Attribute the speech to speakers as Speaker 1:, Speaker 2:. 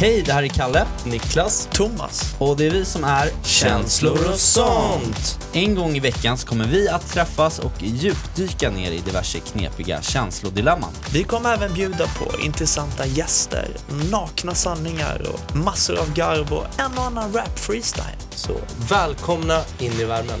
Speaker 1: Hej, det här är Kalle, Niklas
Speaker 2: Thomas.
Speaker 1: och det är vi som är En gång i veckan så kommer vi att träffas och djupdyka ner i diverse knepiga känslodilemman.
Speaker 2: Vi kommer även bjuda på intressanta gäster, nakna sanningar och massor av garv och en och annan rap-freestyle.
Speaker 3: Så välkomna in i värmen.